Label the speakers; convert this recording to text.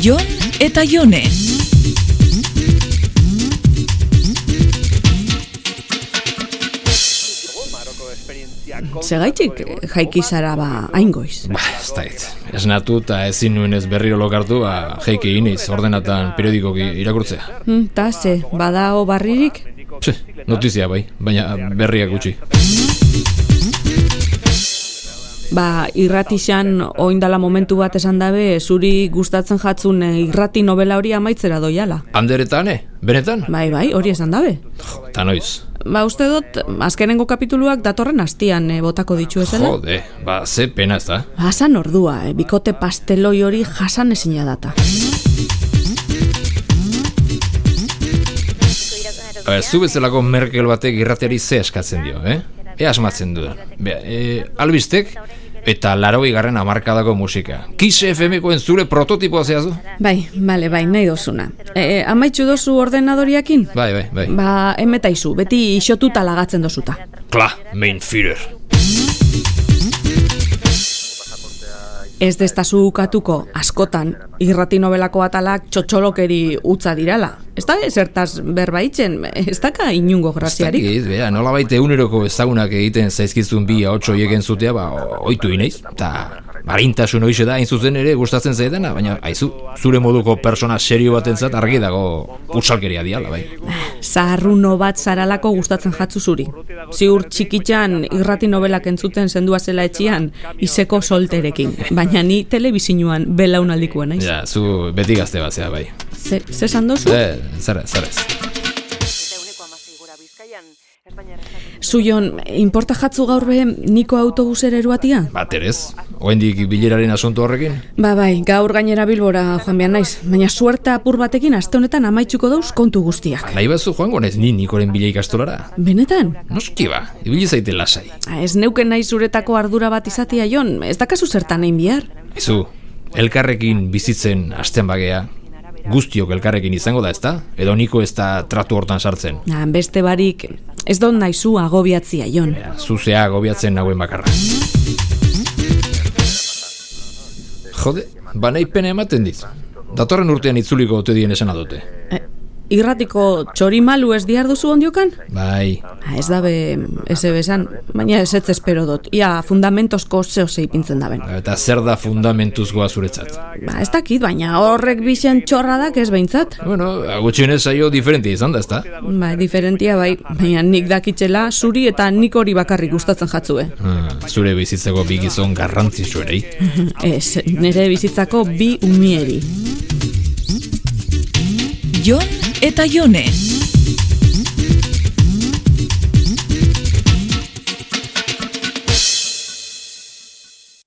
Speaker 1: Jon eta Jone.
Speaker 2: Zegaitik, jaiki zara ba, aingoiz.
Speaker 3: Ba, ez da ez. Esnatu eta ezin nuen ez berriro lokartu, ba, jaiki iniz, ordenatan periodikoki irakurtzea.
Speaker 2: Hm, Ta ze, badao barririk?
Speaker 3: Pse, notizia bai, baina berriak gutxi.
Speaker 2: Ba, irratixan oindala momentu bat esan dabe, zuri gustatzen jatzun eh, irrati novela hori amaitzera doiala.
Speaker 3: Anderetan, eh? Benetan?
Speaker 2: Bai, bai, hori esan dabe.
Speaker 3: Ta noiz.
Speaker 2: Ba, uste dut, azkenengo kapituluak datorren hastian eh, botako ditu ezela.
Speaker 3: Jode, ba, ze pena ez da.
Speaker 2: Hasan ordua, eh, bikote pasteloi hori jasan ezina data.
Speaker 3: Ba, zu bezalako Merkel batek irrateari ze eskatzen dio, eh? Ea asmatzen dudan. Bea, e, albistek eta laroi garren amarkadako musika. Kiss FM-ko entzule prototipoa zehazu?
Speaker 2: Bai, bale, bai, nahi dozuna. E, amaitxu dozu ordenadoriakin?
Speaker 3: Bai, bai, bai.
Speaker 2: Ba, emetaizu, beti isotuta lagatzen dozuta.
Speaker 3: Kla, mein Führer.
Speaker 2: Ez destazu ukatuko, askotan, irrati nobelako atalak txotxolokeri utza dirala. Ez da zertaz berbaitzen, ez daka inungo graziarik.
Speaker 3: Dakit, bea, nola baite uneroko ezagunak egiten zaizkizun bi ahotxo egin zutea, ba, o- ohitu inaiz, eta marintasun hoixe da, hain zuzen ere, gustatzen zaidana, baina, aizu, zure moduko persona serio batentzat argi dago ursalkeria diala, bai.
Speaker 2: Zaharruno bat zaralako gustatzen jatzu zuri. Ziur txikitxan irrati nobelak entzuten zendua zela etxian, iseko solterekin. Baina ni telebizinuan belaunaldikoa naiz.
Speaker 3: Ja, zu beti gazte batzea, bai.
Speaker 2: Ze, ze esan dozu?
Speaker 3: Eh, zer, ez, zer, ez.
Speaker 2: Zuion, inporta jatzu gaur be niko autobusera eruatia?
Speaker 3: Bat ere ez, oendik bileraren asunto horrekin?
Speaker 2: Ba bai, gaur gainera bilbora joan behar naiz, baina suerta apur batekin aste honetan amaitzuko dauz kontu guztiak.
Speaker 3: Ba, Nahi bazu joango naiz ni nikoren bila ikastolara?
Speaker 2: Benetan?
Speaker 3: Noski ba, ibili zaite lasai.
Speaker 2: Ah, Ez neuken nahi zuretako ardura bat izatia jon, ez dakazu zertan egin bihar?
Speaker 3: Izu, elkarrekin bizitzen hasten bagea, guztiok elkarrekin izango da, ezta? Edo niko ez da tratu hortan sartzen.
Speaker 2: Na, Ah, beste barik, ez don naizu agobiatzia jon.
Speaker 3: Zuzea gobiatzen nagoen bakarra. Jode, banai pena ematen dit. Datorren urtean itzuliko ote dien esan adute.
Speaker 2: Eh, irratiko txorimalu ez diar duzu ondiokan?
Speaker 3: Bai,
Speaker 2: Ah, Ez dabe, ez ebesan, baina ez ez espero dut, ia fundamentozko zeo pintzen daben.
Speaker 3: eta zer da fundamentuzgoa zuretzat.
Speaker 2: Ba, ez dakit, baina horrek bixen txorradak ez behintzat.
Speaker 3: Bueno, gutxienez saio diferente izan da, ezta?
Speaker 2: Ba, diferentia bai, baina nik dakitxela zuri eta nik hori bakarrik gustatzen jatzue.
Speaker 3: Ah, zure bizitzako bi gizon garrantzitsuerei.
Speaker 2: Ez, nire bizitzako bi umieri.
Speaker 1: Jon eta Jone.